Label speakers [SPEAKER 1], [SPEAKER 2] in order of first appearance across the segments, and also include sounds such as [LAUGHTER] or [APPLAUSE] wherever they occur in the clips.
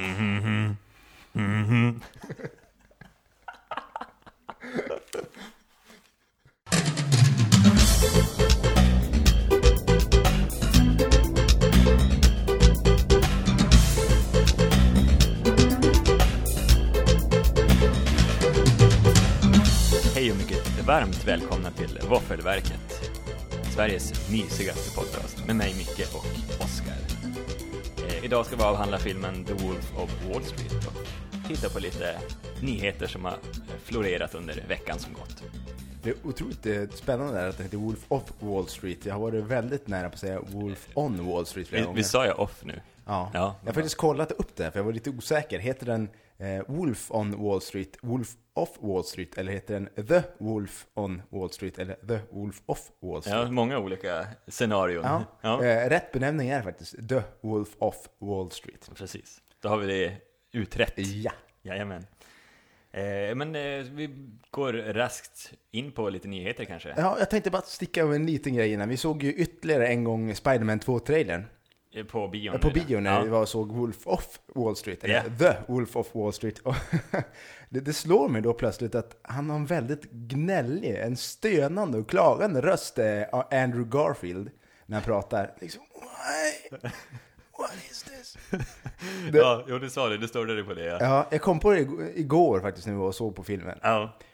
[SPEAKER 1] Mhm. Mhm. Hej och mycket varmt välkomna till Våffelverket. Sveriges mysigaste podcast med mig Micke och Oskar. Eh, idag ska vi avhandla filmen The Wolf of Wall Street och titta på lite nyheter som har florerat under veckan som gått.
[SPEAKER 2] Det är otroligt eh, spännande där att det heter Wolf of Wall Street. Jag har varit väldigt nära på att säga Wolf on Wall Street flera
[SPEAKER 1] Vi,
[SPEAKER 2] gånger.
[SPEAKER 1] vi sa ju off nu.
[SPEAKER 2] ja.
[SPEAKER 1] Ja,
[SPEAKER 2] jag har faktiskt kollat upp det, här, för jag var lite osäker. Heter den eh, Wolf on Wall Street, Wolf of Wall Street, eller heter den The Wolf on Wall Street, eller The Wolf of Wall Street?
[SPEAKER 1] Ja, många olika scenarion.
[SPEAKER 2] Ja.
[SPEAKER 1] Ja,
[SPEAKER 2] Eh, rätt benämning är det faktiskt The Wolf of Wall Street.
[SPEAKER 1] precis. Då har vi det utrett.
[SPEAKER 2] Ja.
[SPEAKER 1] Jajamän. Eh, men eh, vi går raskt in på lite nyheter kanske.
[SPEAKER 2] ja, jag tänkte bara sticka över en liten grej innan. Vi såg ju ytterligare en gång Spider-Man 2-trailern.
[SPEAKER 1] Eh, På bion.
[SPEAKER 2] Ja, På
[SPEAKER 1] redan.
[SPEAKER 2] bio när
[SPEAKER 1] Ja.
[SPEAKER 2] vi var och såg Wolf of Wall Street,
[SPEAKER 1] Ja.
[SPEAKER 2] eller The Wolf of Wall Street. Och [LAUGHS] det, det slår mig då plötsligt att han har en väldigt gnällig, en stönande och klagande röst, eh, av Andrew Garfield, när han pratar. Liksom, why? What is this? Det-
[SPEAKER 1] Ja, jo, du sa det. Du störde dig på det. Ja. Ja.
[SPEAKER 2] Ja, jag kom på det ig- igår faktiskt när vi var och såg på filmen,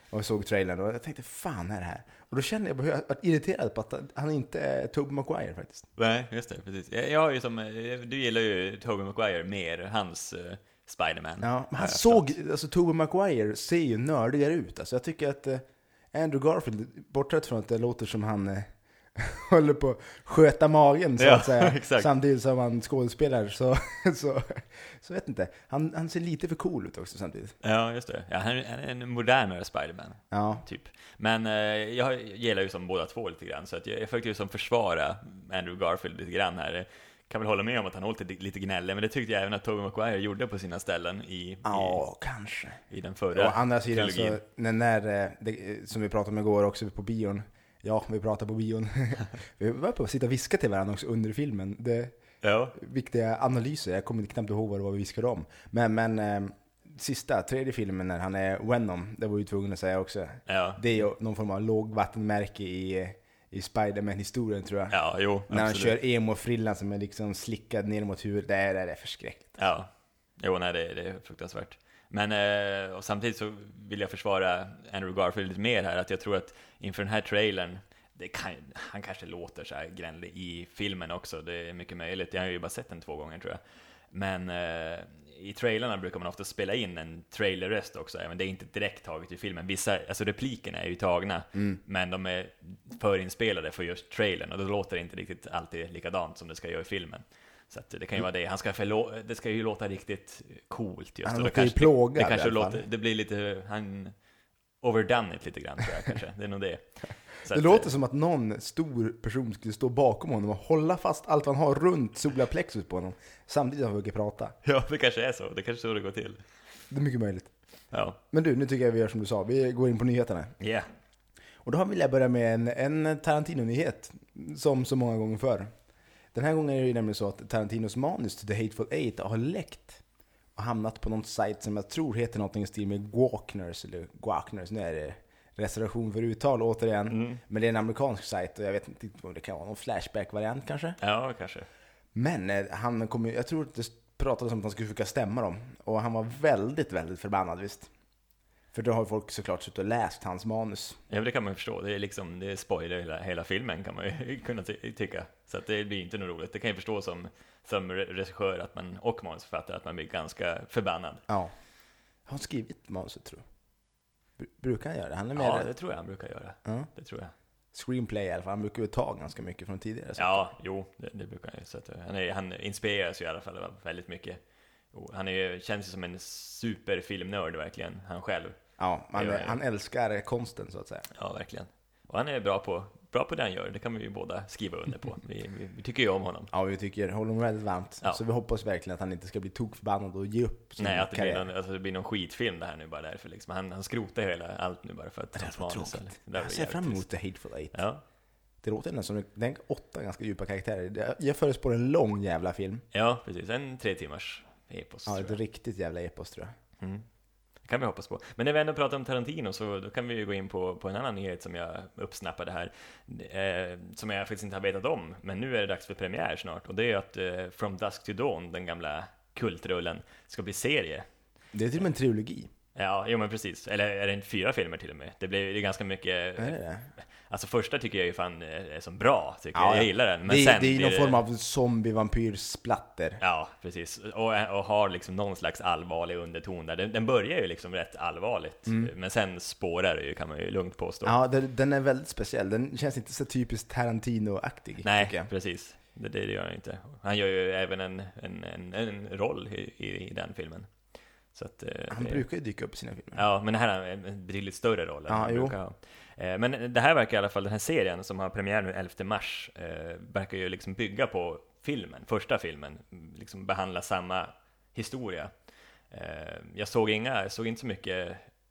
[SPEAKER 2] och såg trailern, och jag tänkte fan är det här? Och då kände jag, jag var irriterad på att han inte är Tobey Maguire faktiskt.
[SPEAKER 1] Nej, just det. Precis. Jag, jag har ju som, eh, du gillar ju Tobey Maguire mer, hans eh, Spiderman.
[SPEAKER 2] Ja, men
[SPEAKER 1] Ja,
[SPEAKER 2] han såg, alltså Tobey Maguire ser ju nördigare ut. Alltså jag tycker att eh, Andrew Garfield, bortsett från att det låter som han eh, [LAUGHS] håller på att sköta magen så
[SPEAKER 1] Ja,
[SPEAKER 2] att säga,
[SPEAKER 1] [LAUGHS] exakt.
[SPEAKER 2] samtidigt som han skådespelar så, [LAUGHS] så, så vet inte. Han, han ser lite för cool ut också samtidigt.
[SPEAKER 1] Ja, just det. Ja, han, är- han är en modernare Spiderman,
[SPEAKER 2] Ja,
[SPEAKER 1] typ. Men eh, jag gillar ju som båda två lite grann, så att jag, jag försökte ju som försvara Andrew Garfield lite grann här. Kan väl hålla med om att han låter lite gnällig, men det tyckte jag även att Tobey Maguire gjorde på sina ställen i,
[SPEAKER 2] ja kanske.
[SPEAKER 1] i, i den förra
[SPEAKER 2] Å andra sidan så,
[SPEAKER 1] trilogin.
[SPEAKER 2] när, när eh, det, eh, som vi pratade om igår också på bion, ja, vi pratade på
[SPEAKER 1] [LAUGHS]
[SPEAKER 2] bion. [LAUGHS] vi var på att sitta och viska till varandra också under filmen. Det,
[SPEAKER 1] Ja,
[SPEAKER 2] viktiga analyser. Jag kommer knappt ihåg vad det var vi viskade om. Men, men eh, sista, tredje filmen när han är Venom, det var ju tvungen att säga också.
[SPEAKER 1] ja.
[SPEAKER 2] Det är ju någon form av lågvattenmärke i, i Spiderman-historien tror jag.
[SPEAKER 1] Ja, jo,
[SPEAKER 2] när han
[SPEAKER 1] absolut.
[SPEAKER 2] kör emo-frillan som är liksom slickad ner mot huvudet. Det är, det är förskräckligt.
[SPEAKER 1] Ja, jo nej det, det är fruktansvärt. Men eh, och samtidigt så vill jag försvara Andrew Garfield lite mer här, att jag tror att inför den här trailern, det kan, han kanske låter så här gnällig i filmen också, det är mycket möjligt. Jag har ju bara sett den två gånger tror jag. Men eh, i trailerna brukar man ofta spela in en trailerröst också, även det är inte direkt taget i filmen. Vissa, alltså replikerna är ju tagna, men de är förinspelade för just trailern och då låter det inte riktigt alltid likadant som det ska göra i filmen. Så att det kan ju vara det. Han ska förlo- det ska ju låta riktigt coolt just.
[SPEAKER 2] Han
[SPEAKER 1] Och då
[SPEAKER 2] låter ju
[SPEAKER 1] kanske det-
[SPEAKER 2] plågad
[SPEAKER 1] Det,
[SPEAKER 2] i
[SPEAKER 1] kanske
[SPEAKER 2] alla fall.
[SPEAKER 1] låter, det blir lite, han overdone it lite grann tror jag kanske. Det är nog
[SPEAKER 2] [LAUGHS]
[SPEAKER 1] det. Så
[SPEAKER 2] Det
[SPEAKER 1] att,
[SPEAKER 2] låter som att någon stor person skulle stå bakom honom och hålla fast allt han har runt solaplexus på honom. Samtidigt som han försöker prata.
[SPEAKER 1] [LAUGHS] Ja, det kanske är så. Det kanske är så det går till.
[SPEAKER 2] Det är mycket möjligt.
[SPEAKER 1] Ja,
[SPEAKER 2] Men du, nu tycker jag vi gör som du sa. Vi går in på nyheterna.
[SPEAKER 1] yeah.
[SPEAKER 2] Och då vill jag börja med en, en Tarantino-nyhet, som så många gånger förr. Den här gången är det ju nämligen så att Tarantinos manus till The Hateful Eight har läckt och hamnat på någon sajt som jag tror heter någonting i stil med Gawkners, eller Gawkners, nu är det reservation för uttal återigen. Men det är en amerikansk sajt och jag vet inte om det kan vara någon Flashback-variant kanske.
[SPEAKER 1] ja kanske.
[SPEAKER 2] Men eh, han kom ju, jag tror att det pratades om att han skulle försöka stämma dem. Och han var väldigt, väldigt förbannad visst. För då har folk såklart suttit och läst hans manus.
[SPEAKER 1] Ja, men det kan man ju förstå. Det är liksom, det är spoiler hela, hela filmen kan man ju [LAUGHS] kunna ty- tycka. Så att det blir inte något roligt. Det kan jag förstå som, som re- regissör att man, och manusförfattare att man blir ganska förbannad.
[SPEAKER 2] Ja. Har han skrivit manuset tror du? Bru- Brukar han göra det? Han är med
[SPEAKER 1] Ja,
[SPEAKER 2] där.
[SPEAKER 1] det tror jag han brukar göra.
[SPEAKER 2] Ja.
[SPEAKER 1] Det tror jag.
[SPEAKER 2] Screenplay i alla fall. Han brukar ju ta ganska mycket från tidigare. så.
[SPEAKER 1] Ja, jo, det, det brukar han ju. Så att, eh, han, är, han inspireras ju i alla fall av väldigt mycket. Och han är, ju- känns ju som en superfilmnörd verkligen, han själv.
[SPEAKER 2] ja han,
[SPEAKER 1] Det gör jag.
[SPEAKER 2] han älskar konsten så att säga.
[SPEAKER 1] Ja, verkligen. Och han är bra på, bra på det han gör, det kan vi ju båda skriva under [LAUGHS] på. Vi, vi, vi tycker ju om honom.
[SPEAKER 2] Ja, vi tycker, håller honom väldigt varmt.
[SPEAKER 1] Ja.
[SPEAKER 2] Så vi hoppas verkligen att han inte ska bli tokförbannad och ge upp sin
[SPEAKER 1] Nej, att det blir,
[SPEAKER 2] Mm, karriär.
[SPEAKER 1] någon, alltså, det blir någon skitfilm det här nu bara därför liksom. Han, han skrotar hela allt nu bara för att
[SPEAKER 2] Det
[SPEAKER 1] hans
[SPEAKER 2] där var
[SPEAKER 1] manus-
[SPEAKER 2] tråkigt.
[SPEAKER 1] det där var
[SPEAKER 2] jag ser
[SPEAKER 1] jävligt
[SPEAKER 2] fram
[SPEAKER 1] trist.
[SPEAKER 2] emot The Hateful Eight.
[SPEAKER 1] Ja,
[SPEAKER 2] Det låter nästan som den åtta ganska djupa karaktärer. Jag- Jag förutspår en lång jävla film.
[SPEAKER 1] ja, precis. En tre timmars epos.
[SPEAKER 2] Ja, ett
[SPEAKER 1] tror jag.
[SPEAKER 2] riktigt jävla epos tror jag.
[SPEAKER 1] Mm. Det kan vi hoppas på. Men när vi ändå pratar om Tarantino så då kan vi ju gå in på, på en annan nyhet som jag uppsnappade här. Eh, som jag faktiskt inte har vetat om, men nu är det dags för premiär snart. Och det är ju att eh, From Dusk to Dawn, den gamla kultrullen, ska bli serie.
[SPEAKER 2] Det är till och med en trilogi.
[SPEAKER 1] Ja, jo men precis. Eller är det inte fyra filmer till och med? Det blir det är ganska mycket...
[SPEAKER 2] Är det det?
[SPEAKER 1] Alltså första tycker jag ju fan eh, är som bra, tycker
[SPEAKER 2] Ja,
[SPEAKER 1] jag.
[SPEAKER 2] ja.
[SPEAKER 1] Jag gillar den. Men
[SPEAKER 2] det,
[SPEAKER 1] sen
[SPEAKER 2] det är ju
[SPEAKER 1] blir
[SPEAKER 2] någon form av zombie-vampyr-splatter.
[SPEAKER 1] Ja, precis. Och, och har liksom någon slags allvarlig underton där. Den, den börjar ju liksom rätt allvarligt, men sen spårar det ju kan man ju lugnt påstå.
[SPEAKER 2] Mm. Ja, den, den är väldigt speciell. Den känns inte så typiskt Tarantino-aktig.
[SPEAKER 1] Nej,
[SPEAKER 2] tycker jag.
[SPEAKER 1] precis. Det, det gör han inte. Han gör ju även en, en, en, en roll i, i, i den filmen. Så att, eh,
[SPEAKER 2] Han
[SPEAKER 1] det-
[SPEAKER 2] brukar ju dyka upp i sina filmer.
[SPEAKER 1] Ja, men det här är en en betydligt större roll än
[SPEAKER 2] Ja,
[SPEAKER 1] han
[SPEAKER 2] jo.
[SPEAKER 1] brukar ha. Eh, Men det här verkar i alla fall, den här serien som har premiär nu 11 mars, eh, verkar ju liksom bygga på filmen, första filmen, mm, liksom behandla samma historia. Eh, Jag såg inga, jag såg inte så mycket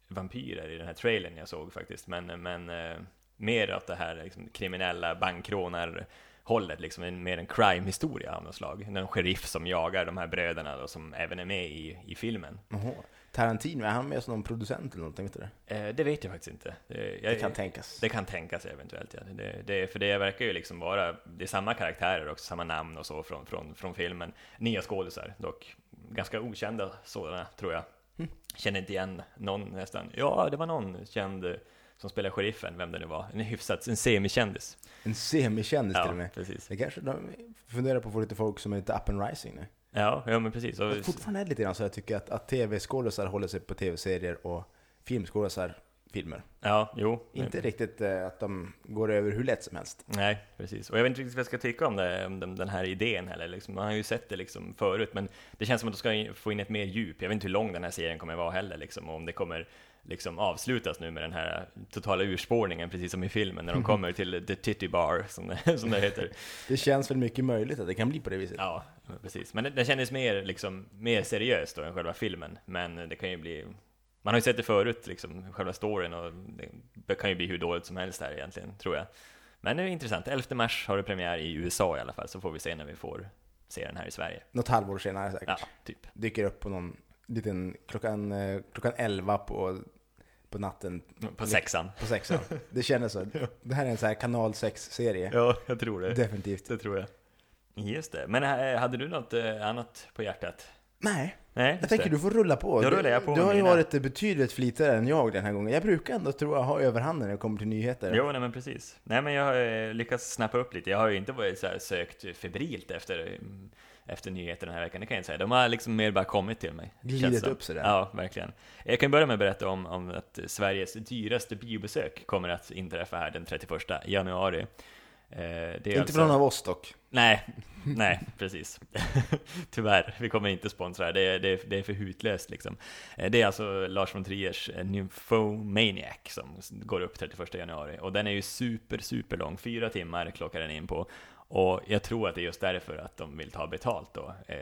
[SPEAKER 1] vampyrer i den här trailern jag såg faktiskt, men, men eh, mer åt det här liksom kriminella bankrånar hållet, liksom en, mer en crime-historia av något slag. En sheriff som jagar de här bröderna då, som även är med i, i filmen.
[SPEAKER 2] Jaha. Tarantino, är han med som någon producent eller någonting? Vet du det?
[SPEAKER 1] Eh, det vet jag faktiskt inte. Det, jag,
[SPEAKER 2] det kan tänkas.
[SPEAKER 1] Eh, det kan tänkas eventuellt, ja. Det, det, för det verkar ju liksom vara, det är samma karaktärer också, samma namn och så från, från, från filmen. Nya skådisar dock, ganska okända sådana tror jag.
[SPEAKER 2] Hm.
[SPEAKER 1] Känner inte igen någon nästan. Ja, det var någon känd eh, som spelar sheriffen, vem det nu var. En hyfsat, en semikändis.
[SPEAKER 2] En semikändis till
[SPEAKER 1] Ja,
[SPEAKER 2] och med.
[SPEAKER 1] precis.
[SPEAKER 2] Det kanske de funderar på att få lite folk som är lite up and rising nu.
[SPEAKER 1] Ja, ja men precis. Och,
[SPEAKER 2] Jag fortfarande är det lite grann så jag tycker att, att tv-skådisar håller sig på tv-serier och filmskådisar filmer.
[SPEAKER 1] ja, jo.
[SPEAKER 2] Inte riktigt eh, att de går över hur lätt som helst.
[SPEAKER 1] Nej, precis. Och jag vet inte riktigt vad jag ska tycka om, det, om den, den här idén heller. Liksom. Man har ju sett det liksom förut, men det känns som att de ska in- få in ett mer djup. Jag vet inte hur lång den här serien kommer vara heller, liksom. och om det kommer liksom avslutas nu med den här totala urspårningen, precis som i filmen, när de kommer till the titty bar, som det, [LAUGHS] som det heter.
[SPEAKER 2] Det känns väl mycket möjligt att det kan bli på det viset.
[SPEAKER 1] Ja, men precis. Men det, det kändes mer, liksom, mer seriöst då än själva filmen, men det kan ju bli man har ju sett det förut, liksom, själva storyn, och det kan ju bli hur dåligt som helst här egentligen, tror jag. Men det är intressant. 11 mars har det premiär i USA i alla fall, så får vi se när vi får se den här i Sverige.
[SPEAKER 2] Något halvår senare säkert.
[SPEAKER 1] Ja, typ.
[SPEAKER 2] Dyker upp på någon liten klockan, eh, klockan 11 på, på natten
[SPEAKER 1] På sexan. [LAUGHS]
[SPEAKER 2] på sexan. det kändes så. Det här är en så här kanal 6-serie.
[SPEAKER 1] Ja, jag tror det.
[SPEAKER 2] Definitivt.
[SPEAKER 1] Det tror jag. Just det. Men eh, hade du något eh, annat på hjärtat?
[SPEAKER 2] Nej,
[SPEAKER 1] Nej,
[SPEAKER 2] jag
[SPEAKER 1] just
[SPEAKER 2] tänker
[SPEAKER 1] det.
[SPEAKER 2] du får rulla på.
[SPEAKER 1] Jag
[SPEAKER 2] Du-
[SPEAKER 1] rullar jag på
[SPEAKER 2] du
[SPEAKER 1] med
[SPEAKER 2] har ju
[SPEAKER 1] mina.
[SPEAKER 2] varit betydligt flitigare än jag den här gången. Jag brukar ändå tro att ha överhanden när det kommer till nyheter.
[SPEAKER 1] Jo, nej men precis. Nej men jag har eh, lyckats snappa upp lite. Jag har ju inte varit så här sökt febrilt efter, mm, efter nyheter den här veckan, det kan jag inte säga. De har liksom mer bara kommit till mig.
[SPEAKER 2] Glidit
[SPEAKER 1] känns som.
[SPEAKER 2] upp sådär.
[SPEAKER 1] Ja, verkligen. Jag kan börja med att berätta om, om att Sveriges dyraste biobesök kommer att inträffa här den 31 januari. Eh, det är
[SPEAKER 2] Inte
[SPEAKER 1] alltså-
[SPEAKER 2] för någon av oss dock.
[SPEAKER 1] Nej, nej, precis. [LAUGHS] Tyvärr, vi kommer inte sponsra. Det är, det är, det är för hutlöst liksom. Eh, Det är alltså Lars von Triers eh, Nymphomaniac som s- går upp 31 januari. Och den är ju super, super lång. Fyra timmar klockar den in på. Och jag tror att det är just därför att de vill ta betalt då, eh,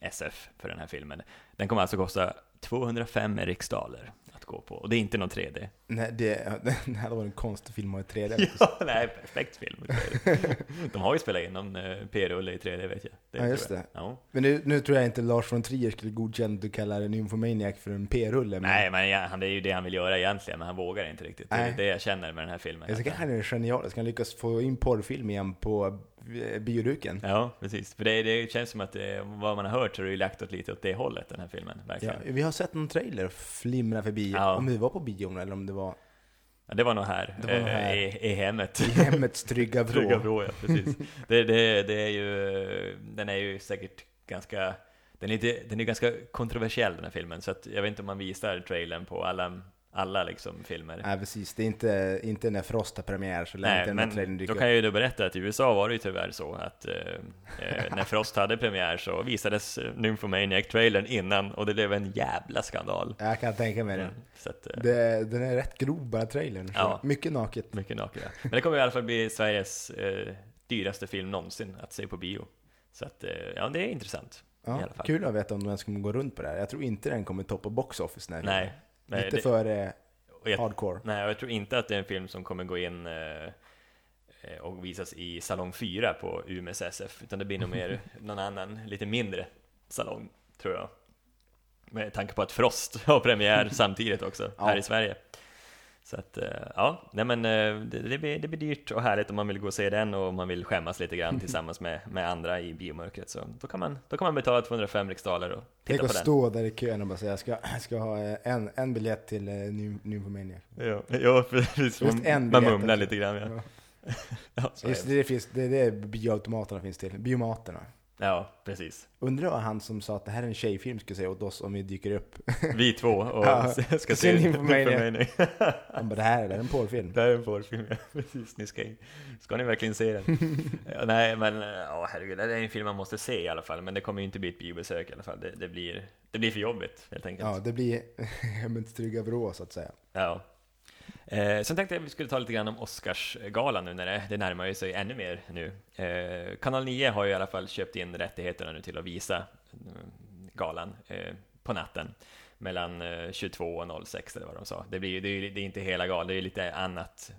[SPEAKER 1] SF, för den här filmen. Den kommer alltså kosta 205 riksdaler att gå på. Och det är inte någon
[SPEAKER 2] [LAUGHS]
[SPEAKER 1] 3D.
[SPEAKER 2] Nej, det, det hade varit en konstig film att ha i 3D.
[SPEAKER 1] Ja, nej, perfekt film. De har ju spelat in någon eh, P-rulle i 3D vet jag. Det
[SPEAKER 2] Ja, just
[SPEAKER 1] tror jag.
[SPEAKER 2] det.
[SPEAKER 1] Ja.
[SPEAKER 2] Men nu, nu tror jag inte Lars von Trier skulle godkänna att du kallar en Nymphomaniac för en p-rulle. men-
[SPEAKER 1] Nej, men ja, han, det är ju det han vill göra egentligen, men han vågar inte riktigt. Det
[SPEAKER 2] Nej.
[SPEAKER 1] är det jag känner med den här filmen.
[SPEAKER 2] Jag tycker
[SPEAKER 1] Att
[SPEAKER 2] han är genial. Ska han lyckas få in porrfilm igen på eh, bioduken?
[SPEAKER 1] han- Ja, precis. För det, det känns som att det, vad man har hört så är det ju lagt åt lite åt det hållet, den här filmen.
[SPEAKER 2] Ja,
[SPEAKER 1] Verkligen. Ja.
[SPEAKER 2] vi har sett någon trailer flimra förbi,
[SPEAKER 1] Ja.
[SPEAKER 2] om det var på bion eller om det var
[SPEAKER 1] det var nog här,
[SPEAKER 2] Det var nog
[SPEAKER 1] eh,
[SPEAKER 2] här.
[SPEAKER 1] I, i hemmet. [LAUGHS]
[SPEAKER 2] i hemmets trygga
[SPEAKER 1] Trygga
[SPEAKER 2] vrå.
[SPEAKER 1] vrå, ja,
[SPEAKER 2] [LAUGHS]
[SPEAKER 1] precis. det, det, det är ju, eh, den är ju säkert ganska, den är, inte, den är ganska kontroversiell den här filmen, så att jag vet inte om man visar trailern på alla, alla liksom filmer.
[SPEAKER 2] Nej precis, det är inte, inte när Frost har premiär så lär
[SPEAKER 1] Nej,
[SPEAKER 2] inte den här trailern
[SPEAKER 1] men
[SPEAKER 2] dyka
[SPEAKER 1] då
[SPEAKER 2] upp.
[SPEAKER 1] kan jag ju då berätta att i USA var det ju tyvärr så att eh,
[SPEAKER 2] [LAUGHS]
[SPEAKER 1] eh, när Frost hade premiär så visades eh, Nymphomaniac-trailern innan och det blev en jävla skandal.
[SPEAKER 2] Jag kan tänka mig det.
[SPEAKER 1] Så att, eh,
[SPEAKER 2] det. Den är rätt grov bara trailern. så
[SPEAKER 1] Ja.
[SPEAKER 2] Mycket naket.
[SPEAKER 1] mycket naken. ja. Men det kommer i alla fall bli Sveriges eh, dyraste film någonsin att se på bio. Så att, eh, ja, det är intressant i
[SPEAKER 2] Ja,
[SPEAKER 1] alla fall.
[SPEAKER 2] kul att veta om de ens kommer gå runt på det här. Jag tror inte den kommer toppa box office när
[SPEAKER 1] Nej, nej,
[SPEAKER 2] Lite
[SPEAKER 1] det-
[SPEAKER 2] före
[SPEAKER 1] och jag,
[SPEAKER 2] hardcore.
[SPEAKER 1] nej, och jag tror inte att det är en film som kommer gå in eh, eh, och visas i
[SPEAKER 2] [LAUGHS]
[SPEAKER 1] salong 4 på UMSSF, utan det blir nog mer någon annan, lite mindre salong tror jag. Med tanke på att Frost [LAUGHS] har
[SPEAKER 2] [LAUGHS]
[SPEAKER 1] premiär samtidigt också,
[SPEAKER 2] Ja.
[SPEAKER 1] här i Sverige. Så att, eh, ja, nej men eh, det, det, blir, det blir dyrt och härligt om man vill gå och se den och om man vill skämmas lite
[SPEAKER 2] [LAUGHS]
[SPEAKER 1] grann tillsammans med, med andra i biomörkret. Så då kan man, då kan man betala 205 riksdaler och
[SPEAKER 2] Tänk
[SPEAKER 1] titta
[SPEAKER 2] att
[SPEAKER 1] på den.
[SPEAKER 2] stå där i kön och bara säga jag ska, jag ska ha eh, en, en biljett till eh, Ny- Nymphomaniac.
[SPEAKER 1] Ja, [LAUGHS] ja precis.
[SPEAKER 2] Just en
[SPEAKER 1] Man, man
[SPEAKER 2] biljett
[SPEAKER 1] mumlar
[SPEAKER 2] också.
[SPEAKER 1] lite grann. Ja.
[SPEAKER 2] Ja.
[SPEAKER 1] [LAUGHS] Ja, så är
[SPEAKER 2] Just
[SPEAKER 1] det.
[SPEAKER 2] det, det finns, det är det bioautomaterna finns till. Biomaterna.
[SPEAKER 1] ja, precis.
[SPEAKER 2] Undrar vad han som sa att det här är en tjejfilm skulle säga åt oss om vi dyker upp.
[SPEAKER 1] Vi två och
[SPEAKER 2] Ja,
[SPEAKER 1] ska
[SPEAKER 2] se
[SPEAKER 1] se
[SPEAKER 2] Nymphomaniac.
[SPEAKER 1] Nymphomaniac.
[SPEAKER 2] [LAUGHS] Han bara, det här är det är en
[SPEAKER 1] [LAUGHS]
[SPEAKER 2] porrfilm.
[SPEAKER 1] Det här är en porrfilm, ja. Precis, ni ska, in. ska ni verkligen se den? ja, nej, men ja, herregud, det är en film man måste se i alla fall, men det kommer ju inte bli ett biobesök i alla fall. Det, det, blir, det blir för jobbigt, helt enkelt.
[SPEAKER 2] Ja, det blir [LAUGHS] hemmets trygga vrå så att säga.
[SPEAKER 1] Ja. Eh, sen tänkte jag att vi skulle ta lite grann om Oscarsgalan nu när det, det närmar ju sig ännu mer nu. Eh, Kanal 9 har ju i alla fall köpt in rättigheterna nu till att visa mm, galan eh, på natten mellan eh, 22 och 06 eller vad de sa. Det, blir, ju- det, är, ju- det är inte hela galan, det är ju lite annat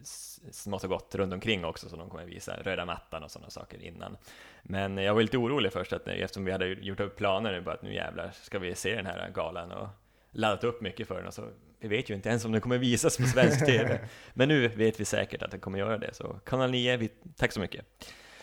[SPEAKER 1] s- smått och gott runt omkring också som de kommer visa, röda mattan och sådana saker innan. Men jag var lite orolig först att, eh, eftersom vi hade gjort upp planer nu bara att nu jävlar ska vi se den här galan och laddat upp mycket för den och så vi vet ju inte ens om den kommer visas på svensk TV. Men nu vet vi säkert att den kommer göra det, så Kanal 9, vi, tack så mycket.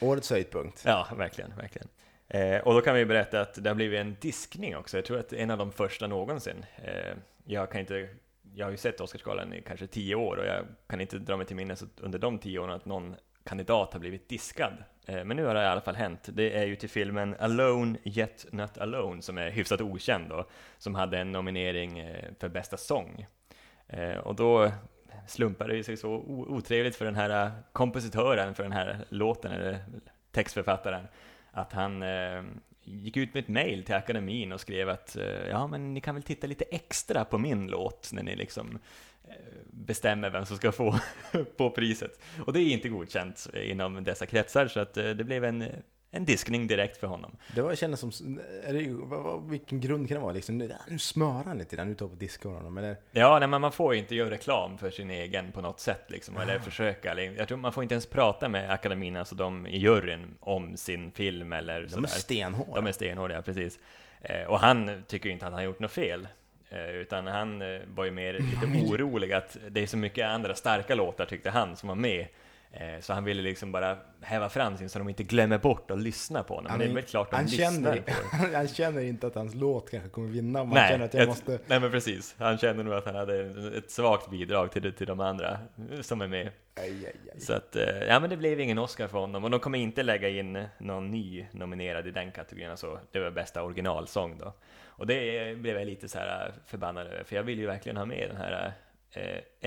[SPEAKER 2] Årets höjdpunkt.
[SPEAKER 1] Ja, verkligen, verkligen. Eh, och då kan vi berätta att det har blivit en diskning också. Jag tror att en av de första någonsin. Eh, jag kan inte, jag har ju sett Oscarsgalan i kanske tio år och jag kan inte dra mig till minnes att under de tio åren att någon kandidat har blivit diskad. Eh, men nu har det i alla fall hänt. Det är ju till filmen Alone Yet Not Alone som är hyfsat okänd då, som hade en nominering eh, för bästa sång. Eh, och då slumpade det sig så o- otrevligt för den här eh, kompositören för den här låten, eller textförfattaren, att han eh, gick ut med ett mejl till akademin och skrev att eh, ja, men ni kan väl titta lite extra på min låt när ni liksom eh, bestämmer vem som ska få [LAUGHS] på priset. Och det är inte godkänt inom dessa kretsar, så att eh, det blev en, en diskning direkt för honom.
[SPEAKER 2] Det var, kändes som, är det, ju- vad, vad, vilken grund kan det vara liksom? Nu, nu smörar han lite där, nu tar vi på disco honom. Eller,
[SPEAKER 1] Ja, nej, men man får ju inte göra reklam för sin egen på något sätt, liksom,
[SPEAKER 2] Ah.
[SPEAKER 1] eller försöka. Eller, jag tror man får inte ens prata med akademin, alltså de i juryn, om sin film eller
[SPEAKER 2] de är
[SPEAKER 1] sådär.
[SPEAKER 2] stenhårda.
[SPEAKER 1] De är stenhårda, ja, precis. Eh, och han tycker ju inte att han har gjort något fel. Eh, utan han eh, var ju mer lite orolig att det är så mycket andra starka låtar, tyckte han, som var med. Eh, så han ville liksom bara häva fram sin så de inte glömmer bort att lyssna på honom. Men det är väl klart de
[SPEAKER 2] han,
[SPEAKER 1] lyssnar
[SPEAKER 2] känner,
[SPEAKER 1] på det.
[SPEAKER 2] [LAUGHS] han känner inte att hans låt kanske kommer vinna. Man
[SPEAKER 1] Nej,
[SPEAKER 2] känner att jag
[SPEAKER 1] ett-
[SPEAKER 2] måste...
[SPEAKER 1] nej men precis, han kände nog att han hade ett svagt bidrag till, till de andra som är med.
[SPEAKER 2] Aj, aj, aj.
[SPEAKER 1] Så att, eh, ja men det blev ingen Oscar för honom och de kommer inte lägga in någon ny nominerad i den kategorin, alltså det var bästa originalsång då. Och det blev jag lite så här eh, förbannad över, för jag vill ju verkligen ha med den här eh,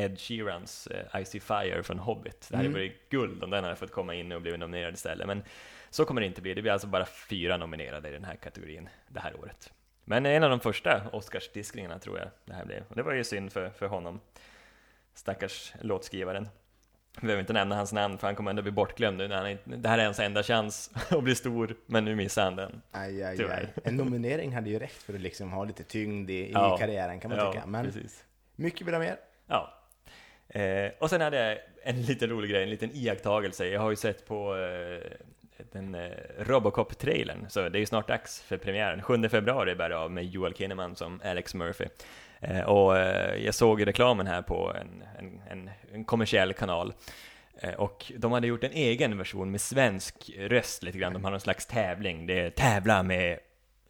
[SPEAKER 1] Ed Sheerans eh, I See Fire från Hobbit. Det hade
[SPEAKER 2] Mm.
[SPEAKER 1] varit guld om den hade fått komma in och blivit nominerad istället, men så kommer det inte bli. Det blir alltså bara fyra nominerade i den här kategorin det här året. Men en av de första Oscarsdiskningarna tror jag det här blev. Och det var ju synd för, för honom. Stackars låtskrivaren. Vi behöver inte nämna hans namn för han kommer ändå bli bortglömd nu när han inte, Det här är hans enda chans [LAUGHS] att bli stor, men nu missar han den.
[SPEAKER 2] Aj, aj, aj.
[SPEAKER 1] Tyvärr.
[SPEAKER 2] En nominering hade ju räckt för att liksom ha lite tyngd i, i
[SPEAKER 1] Ja.
[SPEAKER 2] karriären kan man
[SPEAKER 1] ja,
[SPEAKER 2] tycka. Men
[SPEAKER 1] precis.
[SPEAKER 2] mycket vill ha mer.
[SPEAKER 1] Ja. Eh, och sen hade jag en liten rolig grej, en liten iakttagelse. Jag har ju sett på eh, den eh, Robocop-trailern, så det är ju snart dags för premiären. 7 februari bär det av med Joel Kinnaman som Alex Murphy. Eh, och eh, jag såg reklamen här på en, en, en, en kommersiell kanal. Eh, Och de hade gjort en egen version med svensk röst lite grann. De har någon slags tävling. Det är tävla med,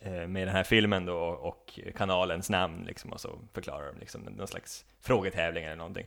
[SPEAKER 1] eh, med den här filmen då och kanalens namn liksom. Och så förklarar de liksom någon slags frågetävling eller någonting.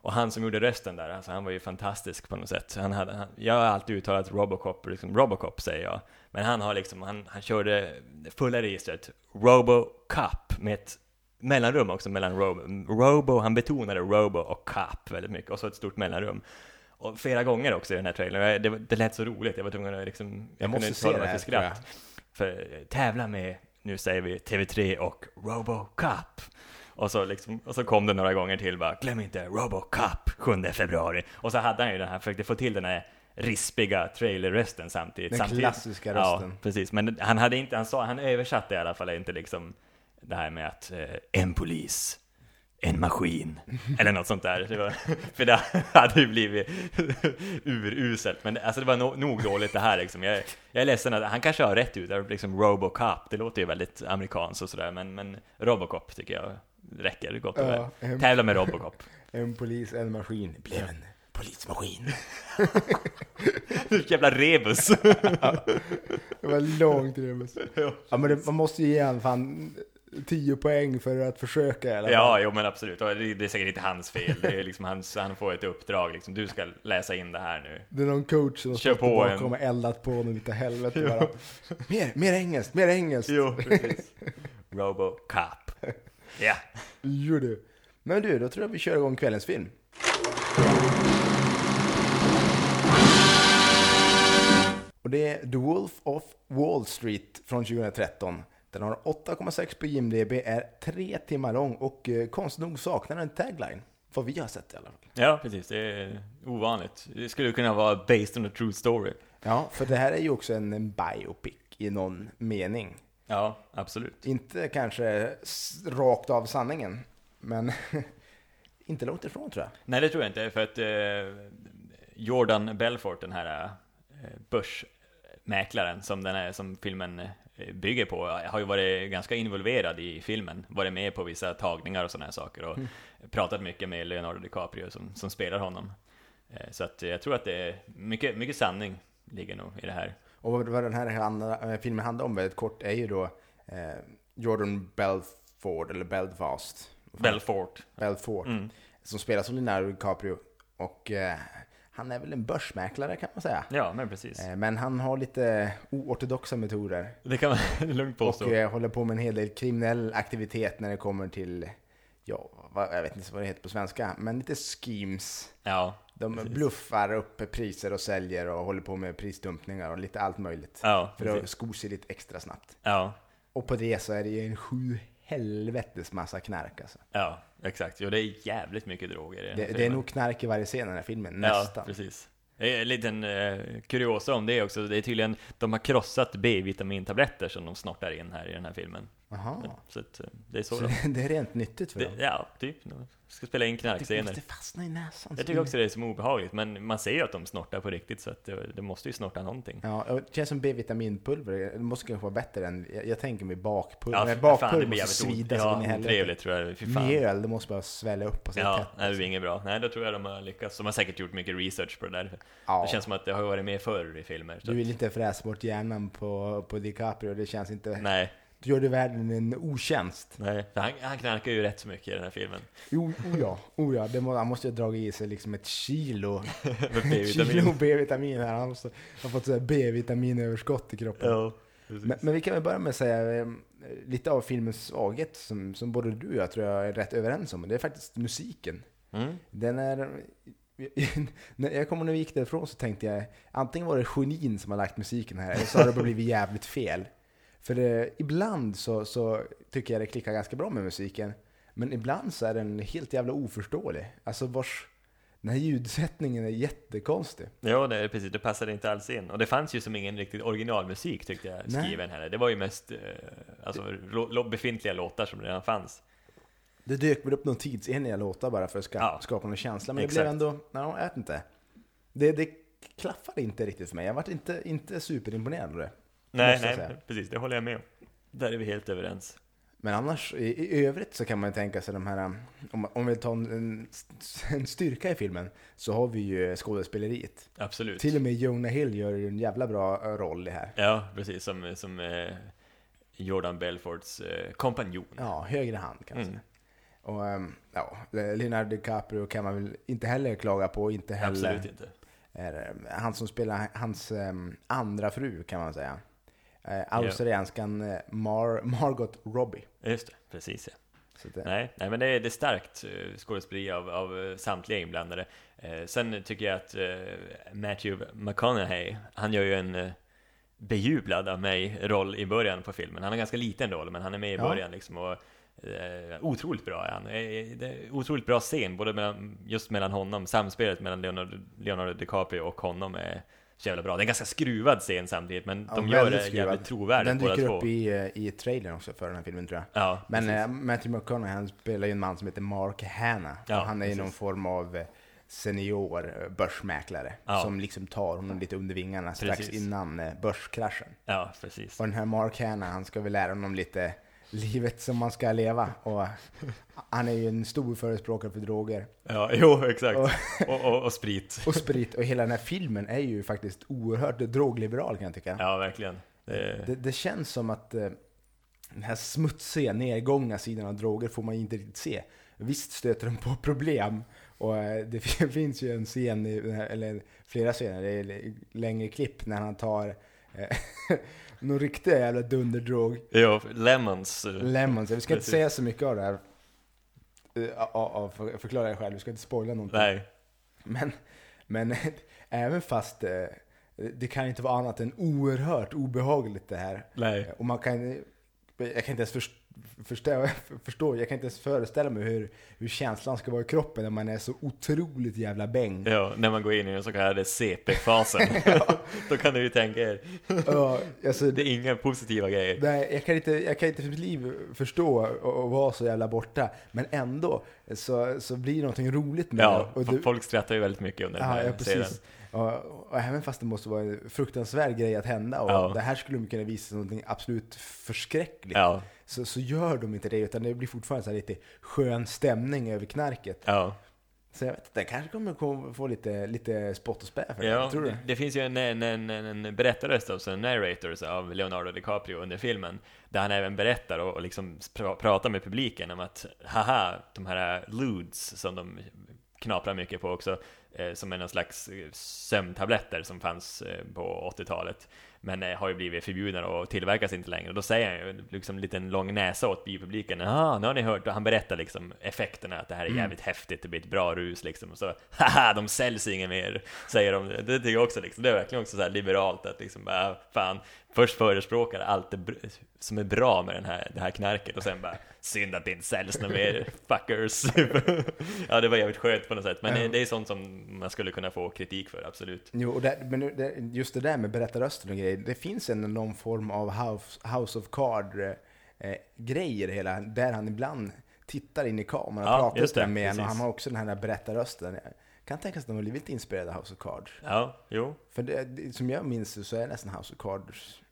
[SPEAKER 1] Och han som gjorde rösten där, alltså han var ju fantastisk på något sätt. Han hade, han, jag har alltid uttalat Robocop, liksom Robocop säger jag. Men han har liksom, han, han körde det fulla registret Robocop med ett mellanrum också mellan Robo, Robo, han betonade Robo och Cop väldigt mycket och så ett stort mellanrum. Och flera gånger också i den här trailern, Jag- det, var- det lät så roligt, jag var tvungen att liksom, jag,
[SPEAKER 2] Jag måste
[SPEAKER 1] kunde
[SPEAKER 2] se
[SPEAKER 1] inte hålla mig
[SPEAKER 2] det här,
[SPEAKER 1] för
[SPEAKER 2] tror jag.
[SPEAKER 1] skratt. För eh, tävla med, nu säger vi TV3 och Robocop. Och så, liksom, och så kom det några gånger till bara, glöm inte Robocop 7 februari. Och så hade han ju den här, försökte få till den här rispiga trailerrösten samtidigt.
[SPEAKER 2] Den
[SPEAKER 1] samtidigt.
[SPEAKER 2] klassiska rösten.
[SPEAKER 1] Ja, precis. Men han hade inte, han sa, han översatte i alla fall inte liksom det här med att eh, en polis en maskin, eller något sånt där. Det var, för det hade ju blivit uruselt, men det- alltså det var no, nog dåligt det här liksom. Jag, jag är ledsen att han kanske har rätt ut, det är liksom Robocop, det låter ju väldigt amerikanskt och sådär, men, men Robocop tycker jag räcker gott och väl.
[SPEAKER 2] Ja, en,
[SPEAKER 1] Tävla med [LAUGHS] Robocop.
[SPEAKER 2] en polis, en maskin. Blev en polismaskin.
[SPEAKER 1] Jävla rebus!
[SPEAKER 2] Det var långt rebus. [LAUGHS] Ja, men det, man måste ju ge han fan 10 poäng för att försöka i alla fall.
[SPEAKER 1] Ja, jo men absolut. Och Det det är säkert inte hans fel. Det är liksom hans, han får ett uppdrag liksom. Du ska läsa in det här nu.
[SPEAKER 2] Det är någon coach som har
[SPEAKER 1] Kör
[SPEAKER 2] stått
[SPEAKER 1] på
[SPEAKER 2] bakom
[SPEAKER 1] en.
[SPEAKER 2] och eldat på honom utav helvete bara. Mer, mer engelskt, mer engelskt.
[SPEAKER 1] Jo, precis. [LAUGHS] Robocop. Ja.
[SPEAKER 2] Jo du. Men du, då tror jag vi kör igång kvällens film. Och det är The Wolf of Wall Street från 2013. Den har 8,6 på IMDB, är tre timmar lång och eh, konstigt nog saknar den tagline. Vad vi har sett i alla fall.
[SPEAKER 1] Ja, precis. Det är ovanligt. Det skulle kunna vara based on a true story.
[SPEAKER 2] Ja, för det här är ju också en, en biopic i någon mening.
[SPEAKER 1] Ja, absolut.
[SPEAKER 2] Inte kanske s- rakt av sanningen, men [LAUGHS] inte långt ifrån tror jag.
[SPEAKER 1] Nej, det tror jag inte. För att eh, Jordan Belfort, den här eh, börsmäklaren som, den här, som filmen eh, bygger på, har ju varit ganska involverad i filmen. Varit med på vissa tagningar och sådana här saker. Och pratat mycket med Leonardo DiCaprio som, som spelar honom. Eh, så att eh, jag tror att det är mycket, mycket sanning ligger nog i det här.
[SPEAKER 2] Och vad- vad den här handla- eh, filmen handlar om väldigt kort är ju då eh, Jordan Belford, eller Belfast,
[SPEAKER 1] Belfort.
[SPEAKER 2] Belfort, som spelas av Leonardo DiCaprio. Och eh, han är väl en börsmäklare kan man säga.
[SPEAKER 1] Ja, men precis.
[SPEAKER 2] Eh, men han har lite oortodoxa metoder.
[SPEAKER 1] Det kan man [LAUGHS] lugnt påstå.
[SPEAKER 2] Och eh, håller på med en hel del kriminell aktivitet när det kommer till, ja, vad, jag vet inte vad det heter på svenska, men lite schemes.
[SPEAKER 1] Ja,
[SPEAKER 2] De bluffar upp priser och säljer och håller på med prisdumpningar och lite allt möjligt.
[SPEAKER 1] ja,
[SPEAKER 2] För att
[SPEAKER 1] precis.
[SPEAKER 2] sko sig lite extra snabbt.
[SPEAKER 1] ja.
[SPEAKER 2] Och på det så är det ju en sju helvetes massa knark alltså.
[SPEAKER 1] Ja, exakt. Jo, det är jävligt mycket droger i den här
[SPEAKER 2] Det, det är
[SPEAKER 1] filmen.
[SPEAKER 2] nog knark i varje scen i den här filmen,
[SPEAKER 1] Ja,
[SPEAKER 2] nästan.
[SPEAKER 1] precis. Det är En liten eh, kuriosa om det också, det är tydligen, de har krossat B-vitamintabletter som de snortar in här i den här filmen.
[SPEAKER 2] Jaha.
[SPEAKER 1] Så att, eh, det är så,
[SPEAKER 2] Så
[SPEAKER 1] de,
[SPEAKER 2] det är rent nyttigt för
[SPEAKER 1] det,
[SPEAKER 2] dem.
[SPEAKER 1] Ja, typ. De ska spela in
[SPEAKER 2] Det
[SPEAKER 1] knarkscener.
[SPEAKER 2] måste fastna i näsan.
[SPEAKER 1] Jag tycker också det är som obehagligt, men man ser ju att de snortar på riktigt så att det, det måste ju snorta någonting.
[SPEAKER 2] Ja, och det känns som B-vitaminpulver. Det måste kanske vara bättre än, jag, jag tänker mig bakpulver.
[SPEAKER 1] Ja,
[SPEAKER 2] Men
[SPEAKER 1] fy
[SPEAKER 2] bakpulver
[SPEAKER 1] blir
[SPEAKER 2] måste
[SPEAKER 1] jävligt
[SPEAKER 2] svida
[SPEAKER 1] o-
[SPEAKER 2] så in i
[SPEAKER 1] Ja,
[SPEAKER 2] helvete.
[SPEAKER 1] otrevligt tror jag. Fy fan.
[SPEAKER 2] Mjöl, det måste bara svälla upp och så
[SPEAKER 1] Ja,
[SPEAKER 2] tätt.
[SPEAKER 1] nej, det blir inget bra. Nej, då tror jag de har lyckats. De har säkert gjort mycket research på det där.
[SPEAKER 2] Ja.
[SPEAKER 1] Det känns som att det har varit med förr i filmer. Så
[SPEAKER 2] Du
[SPEAKER 1] att,
[SPEAKER 2] vill inte fräsa bort hjärnan på, på DiCaprio, det känns inte...
[SPEAKER 1] nej,
[SPEAKER 2] Du gör det världen en otjänst.
[SPEAKER 1] nej. För Han, han knarkar ju rätt så mycket i den här
[SPEAKER 2] [LAUGHS]
[SPEAKER 1] filmen.
[SPEAKER 2] Jo, oh ja, oh ja. Det må, han måste ju ha dragit i sig liksom ett kilo,
[SPEAKER 1] Med
[SPEAKER 2] ett
[SPEAKER 1] B-vitamin.
[SPEAKER 2] kilo B-vitamin här. Han måste, har fått så här B-vitaminöverskott i kroppen.
[SPEAKER 1] Ja, precis.
[SPEAKER 2] Men, men vi kan väl börja med att säga eh, lite av filmens svaghet som, som både du och jag tror jag är rätt överens om. Det är faktiskt musiken.
[SPEAKER 1] Mm.
[SPEAKER 2] Den är... [LAUGHS] när jag kommer när vi gick därifrån så tänkte jag antingen var det genin som har lagt musiken här eller så har det bara blivit jävligt fel. För eh, ibland så, så tycker jag det klickar ganska bra med musiken. Men ibland så är den helt jävla oförståelig. Alltså vars... Den här ljudsättningen är jättekonstig.
[SPEAKER 1] Ja, det, är precis. Det passade inte alls in. Och det fanns ju som ingen riktigt originalmusik tyckte jag,
[SPEAKER 2] Nej.
[SPEAKER 1] skriven här. Det var ju mest eh, alltså, lo, lo, befintliga låtar som redan fanns.
[SPEAKER 2] Det dök väl upp någon tidsenliga låtar bara för att ska,
[SPEAKER 1] Ja.
[SPEAKER 2] skapa någon känsla. Men det
[SPEAKER 1] Exakt.
[SPEAKER 2] blev ändå... Nej, jag vet inte. Det, det klaffade inte riktigt för mig. Jag vart inte, inte superimponerad av det.
[SPEAKER 1] Nej,
[SPEAKER 2] måste jag
[SPEAKER 1] nej,
[SPEAKER 2] säga.
[SPEAKER 1] precis. Det håller jag med om. Där är vi helt överens.
[SPEAKER 2] Men annars, i, i övrigt så kan man ju tänka sig de här, um, om, om vi tar en, en, en styrka i filmen, så har vi ju skådespeleriet.
[SPEAKER 1] Absolut.
[SPEAKER 2] Till och med Jonah Hill gör ju en jävla bra uh, roll i här.
[SPEAKER 1] Ja, precis. Som, som eh, Jordan Belforts eh, kompanjon.
[SPEAKER 2] Ja, högre hand kan man
[SPEAKER 1] Mm.
[SPEAKER 2] säga. Och ehm, ja, Leonardo DiCaprio kan man väl inte heller klaga på, inte heller...
[SPEAKER 1] Absolut inte.
[SPEAKER 2] är, eh, han som spelar hans ehm, andra fru kan man säga. Eh, Australienskan eh, Mar- Margot Robbie.
[SPEAKER 1] Just det, precis ja.
[SPEAKER 2] Så eh, det,
[SPEAKER 1] Nej, nej men det är, det är starkt eh, skådespeleri av, av eh, samtliga inblandade. Eh, sen tycker jag att eh, Matthew McConaughey, han gör ju en eh, bejublad av mig roll i början på filmen. Han har ganska liten roll, men han är med i
[SPEAKER 2] Ja.
[SPEAKER 1] början liksom. Och, eh, otroligt bra är han. Eh, det är otroligt bra scen, både mellan, just mellan honom, samspelet mellan Leonardo, Leonardo DiCaprio och honom är så jävla bra. Det är en ganska skruvad scen samtidigt, men
[SPEAKER 2] Ja,
[SPEAKER 1] de gör
[SPEAKER 2] väldigt
[SPEAKER 1] det
[SPEAKER 2] skruvad.
[SPEAKER 1] jävligt trovärdigt
[SPEAKER 2] Den
[SPEAKER 1] båda
[SPEAKER 2] dyker
[SPEAKER 1] två.
[SPEAKER 2] upp i, eh, i trailern också för den här filmen tror jag.
[SPEAKER 1] Ja,
[SPEAKER 2] Men
[SPEAKER 1] precis.
[SPEAKER 2] eh, Matthew McConaughey han spelar ju en man som heter Mark Hanna.
[SPEAKER 1] Ja,
[SPEAKER 2] och han är ju
[SPEAKER 1] precis.
[SPEAKER 2] någon form av eh, senior eh, börsmäklare
[SPEAKER 1] Ja.
[SPEAKER 2] som liksom tar honom lite under vingarna strax
[SPEAKER 1] Precis.
[SPEAKER 2] innan eh, börskraschen.
[SPEAKER 1] Ja, precis.
[SPEAKER 2] Och den här Mark Hanna, han ska väl lära honom lite livet som man ska leva. Och [LAUGHS] han är ju en stor förespråkare för droger
[SPEAKER 1] Ja, [LAUGHS] jo, exakt. Och, och, och sprit.
[SPEAKER 2] och sprit. Och hela den här filmen är ju faktiskt oerhört drogliberal kan jag tycka.
[SPEAKER 1] Ja, verkligen. Det,
[SPEAKER 2] Det, det känns som att eh, den här smutsiga, nedgångna sidan av droger får man ju inte riktigt se. Visst stöter de på problem. Och eh, det [LAUGHS] fin- finns ju en scen, i den här, eller flera scener, det är l- längre klipp när han tar eh, [LAUGHS] någon riktig jävla dunderdrog.
[SPEAKER 1] ja, lemons.
[SPEAKER 2] Lemons. Vi ska inte
[SPEAKER 1] Precis.
[SPEAKER 2] säga så mycket av det här. Eh, ja, ja, ja, för- Förklara er själv, vi ska inte spoila någonting.
[SPEAKER 1] Nej,
[SPEAKER 2] Men, men [LAUGHS] även fast eh, det kan inte vara annat än oerhört obehagligt det här.
[SPEAKER 1] nej.
[SPEAKER 2] Eh, Och man kan, jag kan inte ens först- förstå, [LAUGHS] förstå, jag kan inte ens föreställa mig hur, hur känslan ska vara i kroppen när man är så otroligt
[SPEAKER 1] [LAUGHS]
[SPEAKER 2] jävla bäng.
[SPEAKER 1] Ja, när man går in i den så kallade
[SPEAKER 2] [LAUGHS]
[SPEAKER 1] CP-fasen. Då kan du ju tänka er,
[SPEAKER 2] Ja, alltså,
[SPEAKER 1] det är inga positiva grejer.
[SPEAKER 2] nej, jag, kan inte, jag kan inte för mitt liv förstå och, och vara så jävla borta, men ändå så, så blir det någonting roligt med
[SPEAKER 1] Ja,
[SPEAKER 2] det. Och du,
[SPEAKER 1] folk skrattar ju väldigt mycket under den
[SPEAKER 2] ja,
[SPEAKER 1] här
[SPEAKER 2] ja,
[SPEAKER 1] scenen.
[SPEAKER 2] precis. Och, och även fast det måste vara en fruktansvärd grej att hända och
[SPEAKER 1] Ja.
[SPEAKER 2] det här skulle de kunna visa som någonting absolut förskräckligt.
[SPEAKER 1] Ja,
[SPEAKER 2] Så, så gör de inte det utan det blir fortfarande så här lite skön stämning över knarket.
[SPEAKER 1] ja.
[SPEAKER 2] Så jag vet inte, den kanske kommer kom- få lite, lite spott och spä för det.
[SPEAKER 1] Ja,
[SPEAKER 2] tror du?
[SPEAKER 1] det, det finns ju en, en, en, en en berättarröst, alltså en narrator så, av Leonardo DiCaprio under filmen, där han även berättar och, och liksom pra, pratar med publiken om att haha, de här ludes som de knaprar mycket på också, eh, som är någon slags eh, sömntabletter som fanns eh, på 80-talet, men eh, har ju blivit förbjudna och tillverkas inte längre. Och då säger han ju liksom en liten lång näsa åt biopubliken, ah, nu har ni hört, och han berättar liksom effekterna, att det här är jävligt häftigt, det blir ett bra rus liksom, och så haha, de säljs inget mer, säger de. Det tycker jag också liksom, det är verkligen också så här liberalt att liksom bara, fan, först förespråkar allt det br- som är bra med den här, det här knarket och sen bara, synd att det inte säljs något mer, fuckers. [LAUGHS] ja, det var jävligt skönt på något sätt, men eh, det- det är sånt som man skulle kunna få kritik för, absolut.
[SPEAKER 2] Jo, och där, men det, just det där med berättarrösten och grejer. Det finns en någon form av House, house of Card-grej i det hela. Där han ibland tittar in i kameran och
[SPEAKER 1] Ja,
[SPEAKER 2] pratar
[SPEAKER 1] just det,
[SPEAKER 2] med en. Och
[SPEAKER 1] precis.
[SPEAKER 2] han har också den här berättarrösten. Jag kan tänka sig att de har blivit inspirerade av House of Cards.
[SPEAKER 1] Ja, jo.
[SPEAKER 2] För det, det, som jag minns det så är nästan House of Cards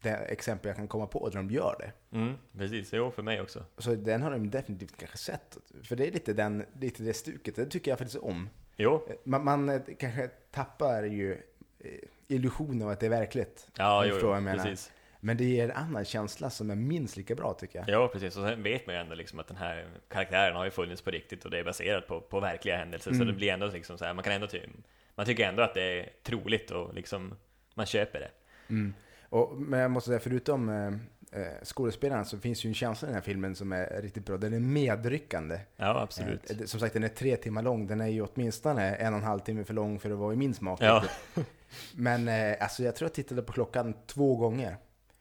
[SPEAKER 2] det exempel jag kan komma på där de gör det.
[SPEAKER 1] Mm, precis, jo för mig också.
[SPEAKER 2] Så den har de definitivt kanske sett. För det är lite, den, lite det stuket. Det tycker jag faktiskt om.
[SPEAKER 1] Jo,
[SPEAKER 2] Man, man eh, kanske tappar ju eh, illusionen av att det är verkligt. Om
[SPEAKER 1] ja,
[SPEAKER 2] du
[SPEAKER 1] jo,
[SPEAKER 2] förstår vad jag
[SPEAKER 1] jo
[SPEAKER 2] menar.
[SPEAKER 1] precis.
[SPEAKER 2] Men det ger en annan känsla som är minst lika bra tycker jag.
[SPEAKER 1] Ja, precis. Och sen vet man ju ändå liksom att den här karaktären har ju funnits på riktigt och det är baserat på, på verkliga händelser.
[SPEAKER 2] Mm.
[SPEAKER 1] Så det blir ändå liksom så här, man kan ändå ty- man tycker ändå att det är troligt och liksom, man köper det.
[SPEAKER 2] Och, men jag måste säga, förutom eh, eh, skådespelaren så finns ju en känsla i den här filmen som är riktigt bra. Den är medryckande.
[SPEAKER 1] Ja, absolut.
[SPEAKER 2] Eh, det- Som sagt, den är tre timmar lång. Den är ju åtminstone en och en halv timme för lång för att vara i min smak.
[SPEAKER 1] Ja,
[SPEAKER 2] Men eh, alltså, jag tror jag tittade på klockan två gånger.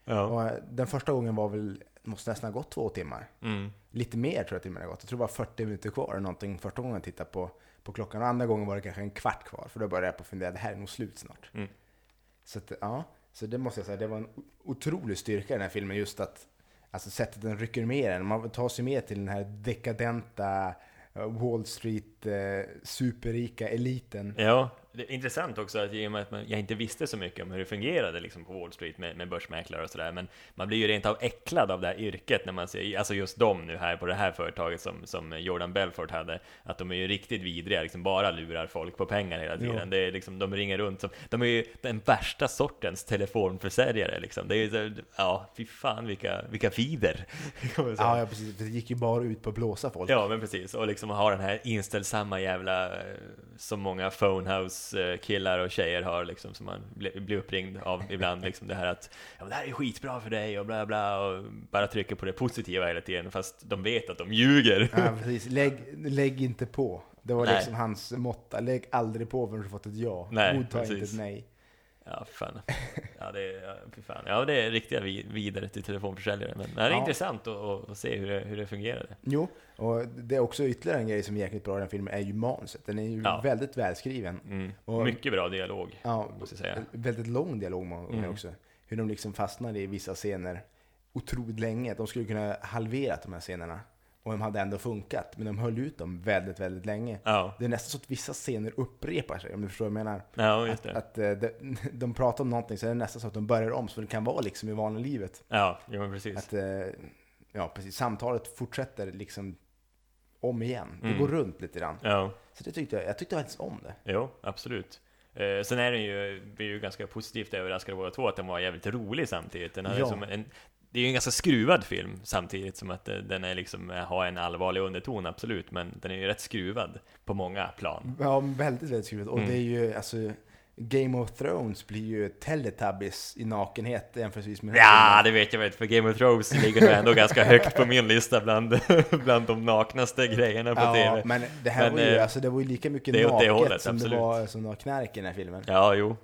[SPEAKER 1] ja.
[SPEAKER 2] Och eh, den första gången var väl, måste nästan ha gått två timmar.
[SPEAKER 1] Mm.
[SPEAKER 2] Lite mer tror jag till och med det har gått. Jag tror det var 40 minuter kvar eller någonting första gången jag tittade på, på klockan. Och andra gången var det kanske en kvart kvar. För då började jag på att fundera, det här är nog slut snart.
[SPEAKER 1] Mm.
[SPEAKER 2] Så att, ja, så det måste jag säga, det var en o- otrolig styrka i den här filmen. Just att, alltså sättet den rycker med en. Man tar sig med till den här dekadenta eh, Wall Street, eh, superrika eliten.
[SPEAKER 1] ja. Det är intressant också att i och med att man, jag inte visste så mycket om hur det fungerade liksom på Wall Street med, med börsmäklare och sådär, men man blir ju rent av äcklad av det här yrket när man ser, alltså just dem nu här på det här företaget som, som Jordan Belfort hade, att de är ju riktigt vidriga, liksom bara lurar folk på pengar hela tiden.
[SPEAKER 2] Jo.
[SPEAKER 1] Det är liksom, de ringer runt som, de är ju den värsta sortens telefonförsäljare liksom. Det är ju så, ja, fy fan vilka, vilka fider. [LAUGHS] kan man säga.
[SPEAKER 2] Ja, ja, precis. För det gick ju bara ut på att blåsa folk.
[SPEAKER 1] Ja, men precis. Och liksom ha den här inställsamma jävla, eh, som många phonehouse-killar och tjejer har liksom, som man bli- blir uppringd av
[SPEAKER 2] [LAUGHS]
[SPEAKER 1] ibland. Liksom det här att ja, men det här är skitbra för dig och bla bla, och bara trycker på det positiva hela tiden, fast de vet att de ljuger.
[SPEAKER 2] [LAUGHS] Ja, precis. Lägg, lägg inte på. Det var
[SPEAKER 1] Nej.
[SPEAKER 2] liksom hans måtta. Lägg aldrig på förrän du fått ett ja.
[SPEAKER 1] Nej,
[SPEAKER 2] Godta inte
[SPEAKER 1] precis.
[SPEAKER 2] ett nej.
[SPEAKER 1] [LAUGHS] Ja, fy fan. Ja, det är, ja, fy fan. Ja, det är riktiga vi- vidare till telefonförsäljare. Men det är
[SPEAKER 2] Ja.
[SPEAKER 1] intressant att, att- att se hur det, hur det fungerade.
[SPEAKER 2] Jo, och det är också ytterligare en grej som är jäkligt bra i den här filmen, är ju manuset. Den är ju
[SPEAKER 1] Ja.
[SPEAKER 2] väldigt välskriven.
[SPEAKER 1] Mm.
[SPEAKER 2] Och-
[SPEAKER 1] Mycket bra dialog,
[SPEAKER 2] Ja,
[SPEAKER 1] måste jag säga.
[SPEAKER 2] en väldigt lång dialog med mm.
[SPEAKER 1] Mm.
[SPEAKER 2] också. Hur de liksom fastnar i vissa scener otroligt länge. De skulle kunna halvera de här scenerna. Och de hade ändå funkat, men de höll ut dem väldigt, väldigt länge.
[SPEAKER 1] Ja,
[SPEAKER 2] Det är nästan så att vissa scener upprepar sig, om du förstår vad jag menar.
[SPEAKER 1] ja just
[SPEAKER 2] Att,
[SPEAKER 1] det.
[SPEAKER 2] att eh, de, [LAUGHS] de pratar om någonting, så är det nästan så att de börjar om, så det kan vara liksom i vanliga livet.
[SPEAKER 1] Ja, ja men precis.
[SPEAKER 2] Att, eh, ja, precis. Samtalet fortsätter liksom om igen. Det
[SPEAKER 1] Mm.
[SPEAKER 2] går runt lite grann.
[SPEAKER 1] Ja,
[SPEAKER 2] Så det tyckte jag, jag tyckte faktiskt om det.
[SPEAKER 1] jo, absolut. Eh, sen är den ju, vi är ju ganska positivt överraskade båda två att den var jävligt rolig samtidigt. Den har
[SPEAKER 2] Ja.
[SPEAKER 1] liksom en, det är ju en ganska skruvad film samtidigt som att eh, den är liksom, eh, har en allvarlig underton, absolut. Men den är ju rätt skruvad på många plan.
[SPEAKER 2] Ja, väldigt, väldigt skrivet. Och
[SPEAKER 1] Mm.
[SPEAKER 2] det är ju, alltså, Game of Thrones blir ju Teletubbies i nakenhet jämförelsevis med den här
[SPEAKER 1] Ja, det vet jag väl inte, för Game of Thrones ligger nog ändå ganska högt på min lista bland, bland de naknaste grejerna på
[SPEAKER 2] filmen. ja,
[SPEAKER 1] TV.
[SPEAKER 2] men det här
[SPEAKER 1] Men,
[SPEAKER 2] var ju,
[SPEAKER 1] eh,
[SPEAKER 2] alltså det var ju lika mycket
[SPEAKER 1] det är åt det
[SPEAKER 2] naket
[SPEAKER 1] hållet,
[SPEAKER 2] som det
[SPEAKER 1] absolut.
[SPEAKER 2] var, som det var knark i den här filmen.
[SPEAKER 1] Ja, jo.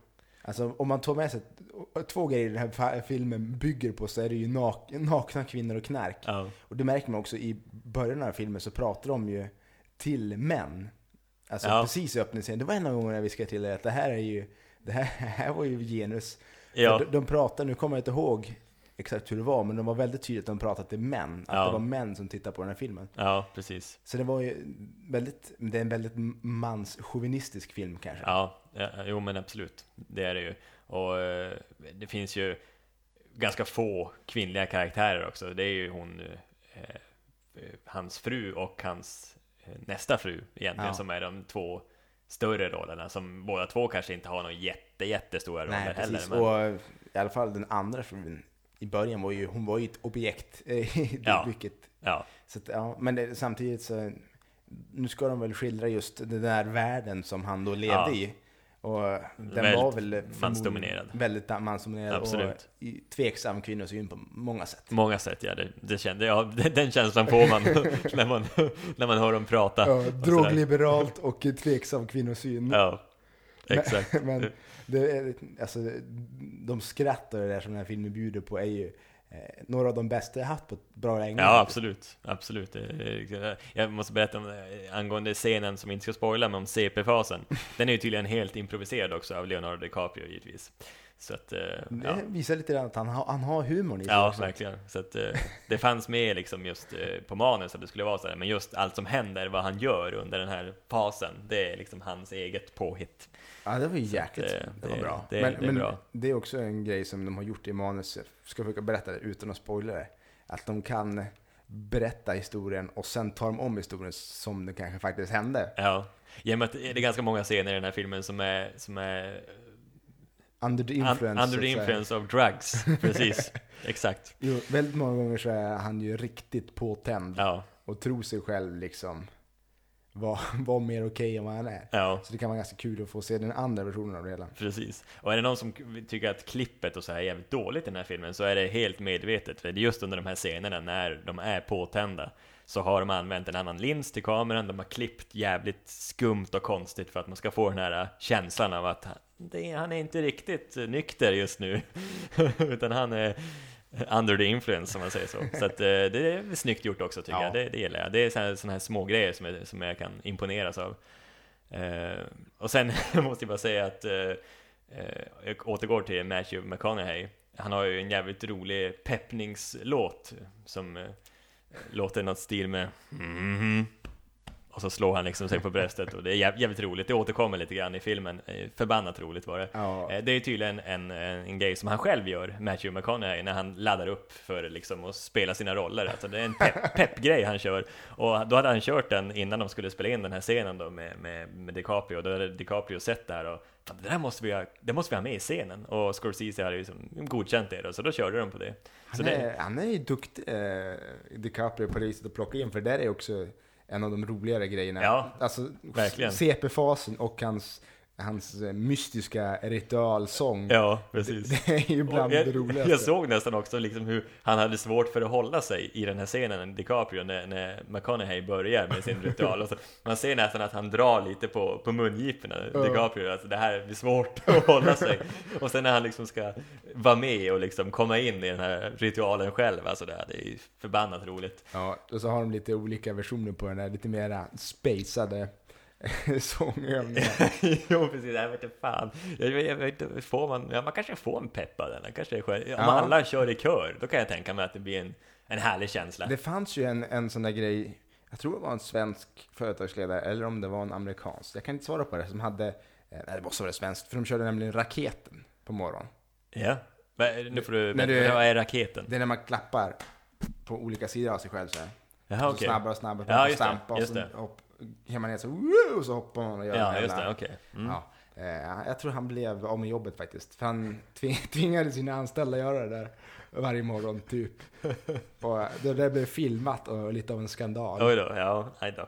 [SPEAKER 2] Alltså om man tar med sig t- två grejer den här fa- filmen bygger på så är det ju nak- nakna kvinnor och knark.
[SPEAKER 1] Ja,
[SPEAKER 2] Och det märker man också i början av den här filmen så pratar de ju till män. Alltså
[SPEAKER 1] Ja.
[SPEAKER 2] precis i öppningsscenen. Det var en av gångerna jag viskade till er att det här är ju, det här, [LAUGHS] här var ju genus.
[SPEAKER 1] ja,
[SPEAKER 2] De, de pratar, nu kommer jag inte ihåg exakt hur det var, men de var väldigt tydligt att de pratade till män. Att
[SPEAKER 1] Ja.
[SPEAKER 2] det var män som tittade på den här filmen.
[SPEAKER 1] ja precis.
[SPEAKER 2] Så det var ju väldigt, det är en väldigt manschauvinistisk film kanske.
[SPEAKER 1] Ja, ja, jo men absolut. Det är det ju. Och eh, det finns ju ganska få kvinnliga karaktärer också. Det är ju hon, eh, eh, hans fru och hans eh, nästa fru egentligen,
[SPEAKER 2] Ja.
[SPEAKER 1] som är de två större rollerna, som båda två kanske inte har någon jätte, jättestora roller
[SPEAKER 2] Nej,
[SPEAKER 1] heller.
[SPEAKER 2] precis.
[SPEAKER 1] men-
[SPEAKER 2] Och eh, i alla fall den andra frun i början var ju, hon var ju ett objekt. eh, [LAUGHS]
[SPEAKER 1] Ja.
[SPEAKER 2] ja. Vilket
[SPEAKER 1] ja,
[SPEAKER 2] Så att, ja, men det, samtidigt så, nu ska de väl skildra just den där världen som han då levde
[SPEAKER 1] Ja.
[SPEAKER 2] i. Och den
[SPEAKER 1] Väldigt
[SPEAKER 2] var väl förmodligen
[SPEAKER 1] mansdominerad.
[SPEAKER 2] Väldigt mansdominerad
[SPEAKER 1] Absolut.
[SPEAKER 2] och i- tveksam kvinnosyn på många sätt.
[SPEAKER 1] många sätt, ja. Det, det kände, ja den [LAUGHS] den känslan får man [LAUGHS] när man, [LAUGHS] när man hör dem prata. och sådär.
[SPEAKER 2] drogliberalt och tveksam kvinnosyn.
[SPEAKER 1] Ja, exakt.
[SPEAKER 2] [LAUGHS] Men det, är- alltså, de skrattar det där som den här filmen bjuder på är ju eh, några av de bästa jag haft på ett bra länge.
[SPEAKER 1] Ja, absolut. absolut. Det- det- Jag måste berätta om det, angående scenen som vi inte ska spoila, men om
[SPEAKER 2] [LAUGHS]
[SPEAKER 1] CP-fasen. Den är ju tydligen helt improviserad också av Leonardo DiCaprio givetvis. Så att, eh, ja,
[SPEAKER 2] Det visar lite grann att han har, han har humorn i sig
[SPEAKER 1] ja
[SPEAKER 2] också.
[SPEAKER 1] verkligen. Så att, eh, det fanns med liksom just eh, på manus att det skulle vara så här, men just allt som händer, vad han gör under den här fasen, det är liksom hans eget påhitt.
[SPEAKER 2] Ja, det var ju
[SPEAKER 1] Så att,
[SPEAKER 2] jäkligt.
[SPEAKER 1] eh,
[SPEAKER 2] det var
[SPEAKER 1] det-
[SPEAKER 2] bra.
[SPEAKER 1] det-
[SPEAKER 2] men,
[SPEAKER 1] det är
[SPEAKER 2] men
[SPEAKER 1] bra.
[SPEAKER 2] det är också en grej som de har gjort i manus, jag ska försöka berätta det utan att spoila det. Att de kan berätta historien och sen tar de om historien som det kanske faktiskt hände.
[SPEAKER 1] Ja, i och med att det är ganska många scener i den här filmen som är, som är
[SPEAKER 2] Under the
[SPEAKER 1] un-
[SPEAKER 2] influence. så
[SPEAKER 1] under
[SPEAKER 2] att
[SPEAKER 1] the
[SPEAKER 2] säga.
[SPEAKER 1] influence of drugs.
[SPEAKER 2] [LAUGHS]
[SPEAKER 1] Precis, exakt.
[SPEAKER 2] Jo, väldigt många gånger så är han ju riktigt påtänd
[SPEAKER 1] Ja,
[SPEAKER 2] och tror sig själv liksom vara vara mer okej än vad han är.
[SPEAKER 1] ja.
[SPEAKER 2] Så det kan vara ganska kul att få se den andra versionen av det hela.
[SPEAKER 1] [LAUGHS] Precis. Och är det någon som k- tycker att klippet och så här är jävligt dåligt i den här filmen så är det helt medvetet. För det är just under de här scenerna när de är påtända så har de använt en annan lins till kameran, de har klippt jävligt skumt och konstigt för att man ska få den här äh, känslan av att han, det, han är inte riktigt eh, nykter just nu. [LAUGHS] Utan han är under the influence, om man säger så. Så att, eh, det är snyggt gjort också tycker
[SPEAKER 2] Ja.
[SPEAKER 1] jag, det, det gillar jag. Det är sådana här, såna här små grejer som jag, som jag kan imponeras av. Eh, och sen [LAUGHS] måste jag bara säga att eh, eh, jag återgår till Matthew McConaughey. Han har ju en jävligt rolig peppningslåt som eh, låter något stil med mhm. Och så slår han liksom sig på bröstet och det är jäv- jävligt roligt. Det återkommer lite grann i filmen. Eh, Förbannat roligt var det.
[SPEAKER 2] Ja,
[SPEAKER 1] Eh, Det är tydligen en, en, en grej som han själv gör, Matthew McConaughey, när han laddar upp för liksom att spela sina roller. Alltså det är en
[SPEAKER 2] [LAUGHS]
[SPEAKER 1] pepp- peppgrej han kör. Och då hade han kört den innan de skulle spela in den här scenen då med, med, med DiCaprio. Då hade DiCaprio sett det här och "Fan, det där måste vi ha, det måste vi ha med i scenen. Och Scorsese hade ju liksom godkänt det då, så då körde de på det. Så
[SPEAKER 2] Han
[SPEAKER 1] det,
[SPEAKER 2] är, han är ju duktig, eh, DiCaprio, på det viset att plocka in, för det där är också en av de roligare grejerna.
[SPEAKER 1] Ja,
[SPEAKER 2] alltså,
[SPEAKER 1] verkligen.
[SPEAKER 2] CP-fasen och hans, hans eh, mystiska ritualsång. [LAUGHS]
[SPEAKER 1] Ja, precis.
[SPEAKER 2] Det är ju bland
[SPEAKER 1] Och jag,
[SPEAKER 2] det roligaste.
[SPEAKER 1] Jag såg nästan också liksom hur han hade svårt för att hålla sig i den här scenen, DiCaprio, när, när McConaughey börjar med sin ritual. Och så, man ser nästan att han drar lite på, på mungiporna,
[SPEAKER 2] Ja.
[SPEAKER 1] DiCaprio, alltså det här blir svårt [LAUGHS] att hålla sig. Och sen när han liksom ska vara med och liksom komma in i den här ritualen själv, alltså det, här, det är ju förbannat roligt. [LAUGHS]
[SPEAKER 2] Ja, och så har de lite olika versioner på den där, lite mera spacade [LAUGHS] sångövningar.
[SPEAKER 1] jo, precis, det här vete fan. Jag, jag, jag vet inte, får man, ja, man kanske får en pepp av den, det kanske är skönt. Om
[SPEAKER 2] Ja.
[SPEAKER 1] alla kör i kör, då kan jag tänka mig att det blir en, en härlig känsla.
[SPEAKER 2] Det fanns ju en, en sån där grej, jag tror det var en svensk företagsledare eller om det var en amerikansk, jag kan inte svara på det, som hade, eh, nej det måste vara svenskt, för de körde nämligen raketen på morgonen.
[SPEAKER 1] Ja, men, eh, nu får du,
[SPEAKER 2] När
[SPEAKER 1] men,
[SPEAKER 2] du-
[SPEAKER 1] vad är raketen?
[SPEAKER 2] Det är när man klappar på olika sidor av sig själv så här.
[SPEAKER 1] Jaha,
[SPEAKER 2] Och så
[SPEAKER 1] Ah, okej.
[SPEAKER 2] snabbare och snabbare,
[SPEAKER 1] Ja,
[SPEAKER 2] och
[SPEAKER 1] just det,
[SPEAKER 2] stampa och
[SPEAKER 1] just
[SPEAKER 2] så
[SPEAKER 1] det.
[SPEAKER 2] hopp, kan man ner så, woo, och så hoppar man och gör den
[SPEAKER 1] Ja,
[SPEAKER 2] här
[SPEAKER 1] just
[SPEAKER 2] jävla-
[SPEAKER 1] det, okej. Mm.
[SPEAKER 2] Ja, eh, jag tror han blev av med jobbet faktiskt. För han [LAUGHS] tvi- tvingade sina anställda göra det där varje morgon,
[SPEAKER 1] [LAUGHS]
[SPEAKER 2] typ. Och eh, det där blev filmat och lite av en skandal.
[SPEAKER 1] Oj då, ja, nej då.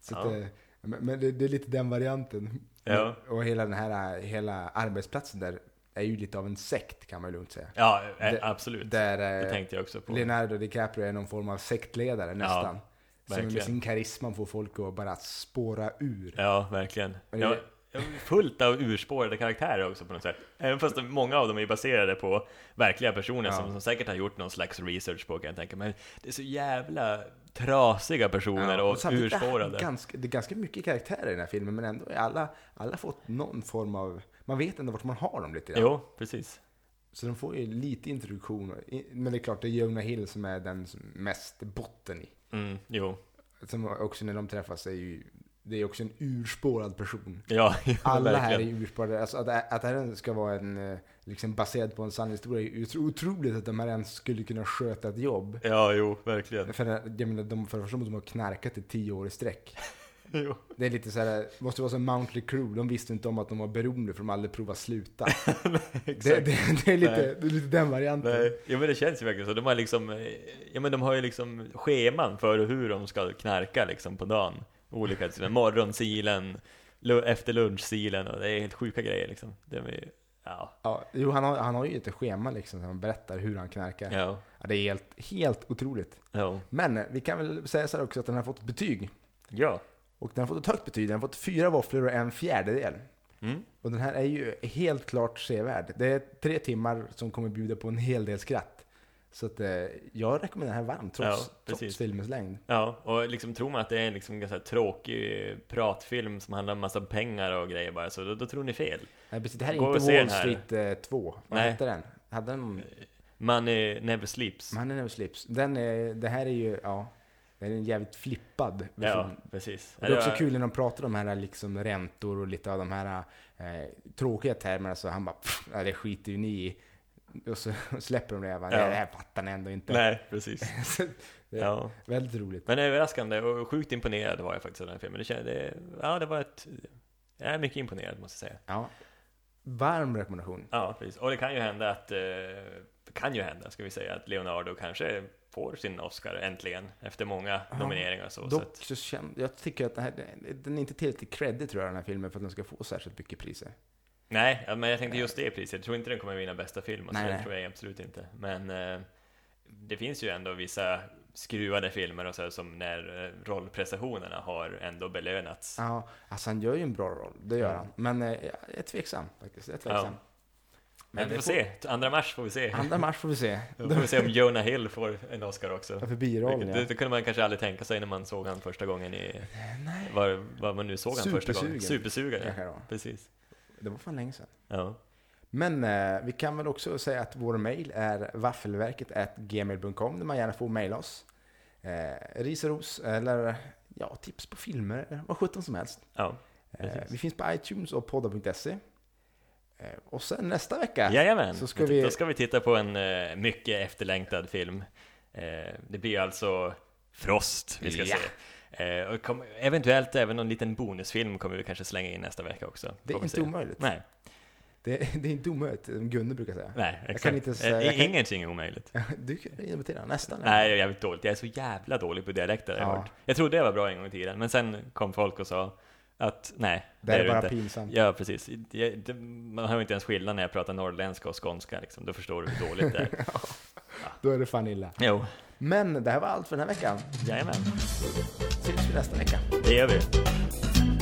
[SPEAKER 2] Så att, eh, men men det, det är lite den varianten.
[SPEAKER 1] Ja.
[SPEAKER 2] Och hela den här eh, hela arbetsplatsen där är ju lite av en sekt kan man ju lugnt säga.
[SPEAKER 1] Ja, eh,
[SPEAKER 2] Det-
[SPEAKER 1] absolut. Det,
[SPEAKER 2] Där eh,
[SPEAKER 1] tänkte jag också på.
[SPEAKER 2] Leonardo DiCaprio är någon form av sektledare nästan. Som med
[SPEAKER 1] verkligen.
[SPEAKER 2] sin karisma får folk att bara spåra ur.
[SPEAKER 1] Ja, verkligen.
[SPEAKER 2] Men det-
[SPEAKER 1] Ja, fullt av urspårade karaktärer också på något sätt. Även fast många av dem är baserade på verkliga personer
[SPEAKER 2] Ja.
[SPEAKER 1] som, som säkert har gjort någon slags research på kan jag tänka mig. Men det är så jävla trasiga personer och
[SPEAKER 2] samtidigt är han
[SPEAKER 1] urspårade.
[SPEAKER 2] Ganska, det är ganska mycket karaktärer i den här filmen, men ändå är alla, alla fått någon form av... Man vet ändå vart man har dem lite grann.
[SPEAKER 1] Jo, precis.
[SPEAKER 2] Så de får ju lite introduktion. I- Men det är klart, det är Jonah Hill som är den som mest botten i.
[SPEAKER 1] Mm, jo.
[SPEAKER 2] Som också när de träffas är ju... Det är också en urspårad person.
[SPEAKER 1] Ja, [LAUGHS]
[SPEAKER 2] Alla här är
[SPEAKER 1] verkligen.
[SPEAKER 2] ju urspårade. Alltså att, att det här ska vara en... eh, Liksom baserad på en sann historia är ju otro- otroligt att de här ens skulle kunna sköta ett jobb.
[SPEAKER 1] Ja, jo, verkligen. [LAUGHS]
[SPEAKER 2] För jag menar, de, för det första måste de ha knarkat i tio år i sträck.
[SPEAKER 1] Jo.
[SPEAKER 2] Det är lite så här, måste vara som Mountley Crew, de visste inte om att de var beroende för de aldrig
[SPEAKER 1] [LAUGHS]
[SPEAKER 2] provat sluta. det, det, det, är lite,
[SPEAKER 1] Nej.
[SPEAKER 2] det är lite den varianten.
[SPEAKER 1] Nej, ja, men det känns ju verkligen så. De har liksom, eh, ja men de har ju liksom scheman för hur de ska knarka liksom på dagen. Olika, liksom, morgonsilen, lu- efter lunchsilen och det är helt sjuka grejer liksom. Det är, ju- ja,
[SPEAKER 2] Ja, jo, han har, han har ju ett schema liksom, där han berättar hur han knarkar. Ja.
[SPEAKER 1] ja,
[SPEAKER 2] det är helt, helt otroligt.
[SPEAKER 1] ja.
[SPEAKER 2] Men eh, vi kan väl säga så här också att den har fått betyg.
[SPEAKER 1] Ja,
[SPEAKER 2] Och den har fått ett högt betyg, den har fått fyra våfflor och en fjärdedel.
[SPEAKER 1] mm.
[SPEAKER 2] Och den här är ju helt klart sevärd. Det är tre timmar som kommer bjuda på en hel del skratt. Så att, eh, jag rekommenderar den här varmt, trots,
[SPEAKER 1] Ja, precis.
[SPEAKER 2] trots filmens längd.
[SPEAKER 1] ja. och liksom tror man att det är en liksom ganska tråkig pratfilm som handlar om massa pengar och grejer bara, så då, då tror ni fel.
[SPEAKER 2] Nej precis, det här är
[SPEAKER 1] Gå och
[SPEAKER 2] inte
[SPEAKER 1] se
[SPEAKER 2] Wall
[SPEAKER 1] den här.
[SPEAKER 2] Street eh, 2. Vad
[SPEAKER 1] Nej.
[SPEAKER 2] hette den? Hade den
[SPEAKER 1] Money eh, never sleeps.
[SPEAKER 2] Mannen över slips? Den är, det här är ju, ja, den är en jävligt flippad version.
[SPEAKER 1] Ja, precis.
[SPEAKER 2] Och det är också kul när de pratar om de här liksom räntor och lite av de här eh, tråkiga termerna så alltså, han bara "Pff, ja, det skiter ju ni i. Och så [LAUGHS] släpper de det. Jag bara,
[SPEAKER 1] Ja.
[SPEAKER 2] "Nej, Det här fattar ni ändå inte.
[SPEAKER 1] Nej, precis.
[SPEAKER 2] [LAUGHS] Så det är
[SPEAKER 1] Ja.
[SPEAKER 2] Väldigt roligt.
[SPEAKER 1] Men överraskande och sjukt imponerad var jag faktiskt av den här filmen. Det kände, det, ja, det var ett... Jag är mycket imponerad måste jag säga.
[SPEAKER 2] Ja. Varm rekommendation.
[SPEAKER 1] Ja, precis. Och det kan ju hända att... eh, Det kan ju hända, ska vi säga, att Leonardo kanske får sin Oscar äntligen efter många
[SPEAKER 2] Ja.
[SPEAKER 1] nomineringar och så. så
[SPEAKER 2] Dock
[SPEAKER 1] att,
[SPEAKER 2] så känner jag tycker att det här, den är inte tillräckligt credit tror jag den här filmen för att den ska få särskilt mycket priser.
[SPEAKER 1] nej, ja, men jag tänkte just det priset. Jag tror inte den kommer vinna bästa film och så.
[SPEAKER 2] Nej,
[SPEAKER 1] det
[SPEAKER 2] nej.
[SPEAKER 1] tror jag absolut inte. Men eh, det finns ju ändå vissa skruvade filmer och så här, som när eh, rollprestationerna har ändå belönats.
[SPEAKER 2] Ja, alltså han gör ju en bra roll, det gör
[SPEAKER 1] Ja.
[SPEAKER 2] han. Men eh, jag är tveksam faktiskt. Jag är tveksam.
[SPEAKER 1] Men vi får se. Andra mars får vi se.
[SPEAKER 2] Andra mars får
[SPEAKER 1] [LAUGHS]
[SPEAKER 2] vi se.
[SPEAKER 1] Då får vi se om Jonah Hill får en Oscar också.
[SPEAKER 2] För birollen
[SPEAKER 1] Vilket, det,
[SPEAKER 2] ja.
[SPEAKER 1] det kunde man kanske aldrig tänka sig när man såg han första gången i... Var, var man nu såg han första gången.
[SPEAKER 2] Supersugen.
[SPEAKER 1] Supersugen.
[SPEAKER 2] Kanske
[SPEAKER 1] Ja.
[SPEAKER 2] då.
[SPEAKER 1] Precis.
[SPEAKER 2] Det var fan länge sedan.
[SPEAKER 1] Ja.
[SPEAKER 2] Men eh, vi kan väl också säga att vår mail är waffelverket.gmail.com där man gärna får mejla oss. Eh, ris och ros eller ja, tips på filmer, vad sjutton som helst.
[SPEAKER 1] ja.
[SPEAKER 2] Eh,
[SPEAKER 1] Precis.
[SPEAKER 2] vi finns på iTunes och poddar.se. Eh, och sen nästa vecka
[SPEAKER 1] Jajamän.
[SPEAKER 2] så ska vi...
[SPEAKER 1] Då ska vi titta på en eh, mycket efterlängtad film. Eh, det blir alltså Frost vi ska
[SPEAKER 2] Ja.
[SPEAKER 1] se. Eh, och kom, eventuellt även någon liten bonusfilm kommer vi kanske slänga in nästa vecka också.
[SPEAKER 2] Det
[SPEAKER 1] Får
[SPEAKER 2] är
[SPEAKER 1] vi
[SPEAKER 2] inte
[SPEAKER 1] se.
[SPEAKER 2] omöjligt.
[SPEAKER 1] Nej,
[SPEAKER 2] Det, det är inte omöjligt, som Gunde brukar säga.
[SPEAKER 1] nej, exakt.
[SPEAKER 2] kan inte ens-
[SPEAKER 1] eh,
[SPEAKER 2] jag kan-
[SPEAKER 1] Ingenting är omöjligt.
[SPEAKER 2] [LAUGHS] Du kan imitera, nästan.
[SPEAKER 1] Nej, jag är jävligt dåligt. Jag är så jävla dålig på dialekter. har Jag,
[SPEAKER 2] Ja.
[SPEAKER 1] hört. jag trodde jag var bra en gång i tiden, men sen kom folk och sa Att, nej.
[SPEAKER 2] Det här är
[SPEAKER 1] det
[SPEAKER 2] bara
[SPEAKER 1] inte.
[SPEAKER 2] pinsamt.
[SPEAKER 1] Ja, precis. Jag, det, man hör ju inte ens skillnad när jag pratar norrländska och skånska liksom. Då förstår du hur dåligt det
[SPEAKER 2] [LAUGHS]
[SPEAKER 1] är.
[SPEAKER 2] Då är det fan illa.
[SPEAKER 1] Jo,
[SPEAKER 2] Men det här var allt för den här veckan.
[SPEAKER 1] jajamän.
[SPEAKER 2] Ses vi nästa vecka.
[SPEAKER 1] Det gör vi.